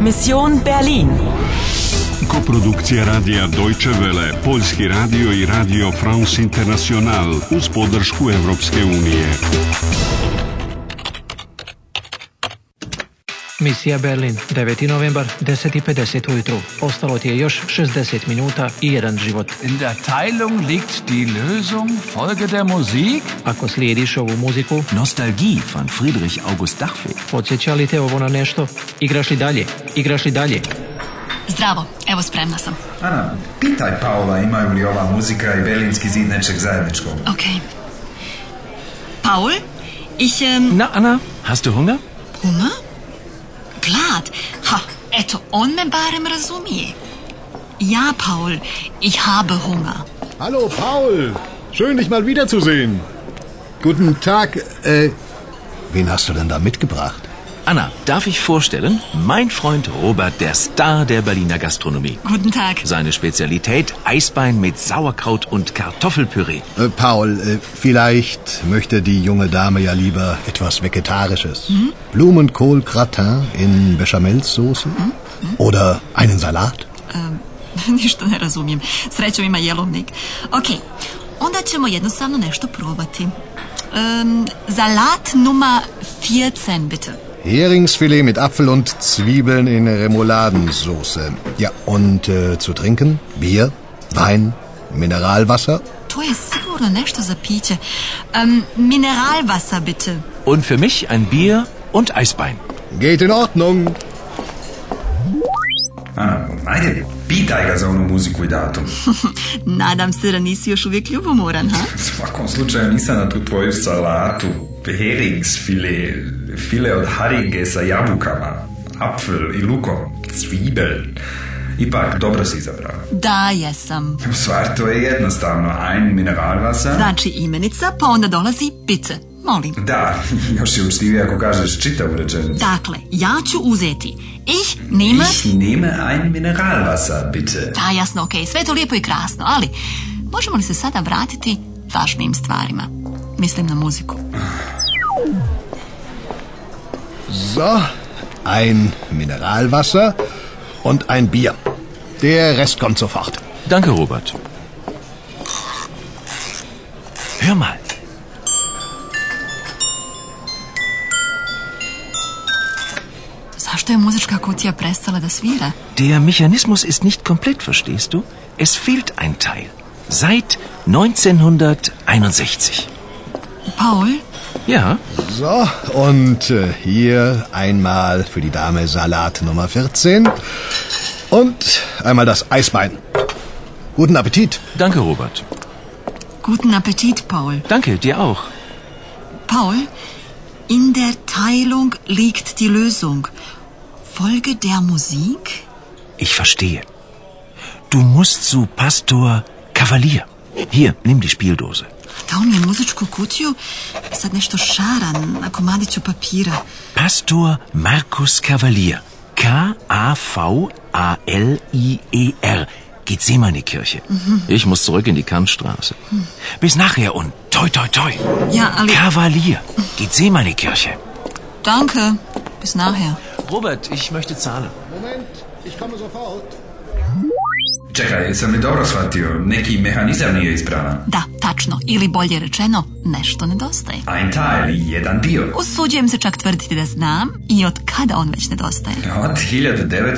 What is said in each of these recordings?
Mission Berlin. Koprodukcija radija Deutsche Welle, Poljski radio i radio France International uz podršku Europske unije. Misija Berlin, 9. novembar, 10.50 ujutru. Ostalo ti je još 60 minuta i jedan život. In der Teilung liegt die Lösung. Folge der Musik. Ako slijediš ovu muziku, Nostalgie von Friedrich August Dachweg. podsjeća li te ovo na nešto? Igraš li dalje? Igraš li dalje? Zdravo, evo spremna sam. Ana, pitaj Paola imaju li ova muzika i Berlinski zid nečeg zajedničkog. Okay. Paul, ich, ähm, Na, Ana, Hast du Hunger? Hunger? Glad. Ha, eto, on me barem razumije. Ja, Paul, ich habe Hunger. Hallo Paul, schön dich mal wiederzusehen. Guten Tag, äh, wen hast du denn da mitgebracht? Anna, darf ich vorstellen? Mein Freund Robert, der Star der Berliner Gastronomie. Guten Tag. Seine Spezialität Eisbein mit Sauerkraut und Kartoffelpüree. Äh, Paul, äh, vielleicht möchte die junge Dame ja lieber etwas Vegetarisches. Blumenkohl-Gratin in Bechamelsoße oder einen Salat. Ähm, ništa ne razumijem. Srećom ima jelovnik. Ok, onda ćemo jednostavno nešto probati. Ähm, Salat Nummer 14, bitte. Heringsfilet mit Apfel und Zwiebeln in Remouladensoße. Ja, und äh, zu trinken? Bier, Wein, Mineralwasser? To je sigurno nešto za piće. Ähm, Mineralwasser, bitte. Und für mich ein Bier und Eisbein. Geht in Ordnung. Ana, ajde, pitaj ga za onu muziku i datum. Nadam se da nisi još uvijek ljubomoran, ha? U svakom slučaju nisam na tu tvoju salatu. Herings file, file od haringe sa jabukama, apfel i lukom, cvibel. Ipak, dobro si izabrao. Da, jesam. Stvar to je jednostavno. Ein mineralvasa. Znači imenica, pa onda dolazi bitte. Molim. Da, još je učtivije ako kažeš čitavu rečenicu. Dakle, ja ću uzeti. Ich nehme... Ich nehme ein mineralvasa, bitte. Da, jasno, okej, sve je to lijepo i krasno, ali možemo li se sada vratiti važnijim stvarima? Mislim na muziku. So, ein Mineralwasser und ein Bier. Der Rest kommt sofort. Danke, Robert. Hör mal. Zašto je muzička kutija prestala da svira? Der Mechanismus ist nicht komplett, verstehst du? Es fehlt ein Teil. Seit 1961. Paul, Ja, So, und äh, hier einmal für die Dame Salat Nummer 14 und einmal das Eisbein. Guten Appetit. danke, Robert. guten appetit, Paul. Danke, dir auch. Paul, in der Teilung liegt die Lösung. Folge der Musik? Ich verstehe. Du musst zu Pastor Kavalier. Hier, nimm die Spieldose. Dao mi je muzičku kutiju, sad nešto šara na komadiću papira. Pastor Markus Kavalier. K-A-V-A-L-I-E-R. Geht Seemannekirche. E Ich muss zurück in die Kantstraße. Bis nachher und toi toi toi. Ja, ali... Kavalier. Geht Seemannekirche. Danke, bis nachher. Robert, ich möchte zahlen. Moment, ich komme sofort. Čekaj, jesam li dobro shvatio? Neki mehanizam nije ispravan. Da, tačno, ili bolje rečeno, nešto nedostaje. Ein Teil, jedan dio. Usuđujem se čak tvrditi da znam i od kada on već nedostaje. Od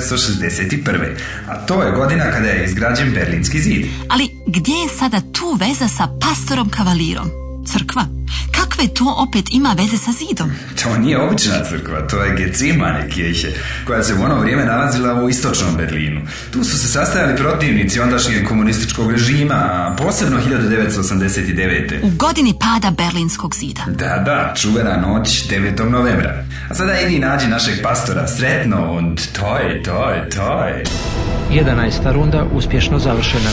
1961. A to je godina kada je izgrađen Berlinski zid. Ali gdje je sada tu veza sa pastorom kavalirom? Crkva? Kakve to opet ima veze sa zidom? To nije obična crkva, to je Getsimane kirche, koja se u ono vrijeme nalazila u istočnom Berlinu. Tu su se sastajali protivnici ondašnjeg komunističkog režima, a posebno 1989. U godini pada Berlinskog zida. Da, da, čuvena noć 9. novembra. A sada idi i nađi našeg pastora, sretno, und toj, toj, toj. 11. runda uspješno završena.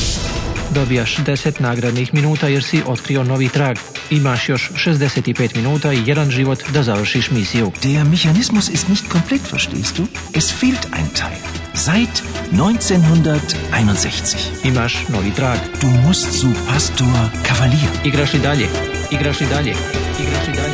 Dobijaš 10 nagradnih minuta jer si otkrio novi trag. Imaš još 65 minuta i jedan život da završiš misiju. Der Mechanismus ist nicht komplett, verstehst du? Es fehlt ein Teil. Seit 1961. Imaš novi trag. Du musst zu Pastor Kavalier. Igraš li dalje? Igraš li dalje? Igraš li dalje?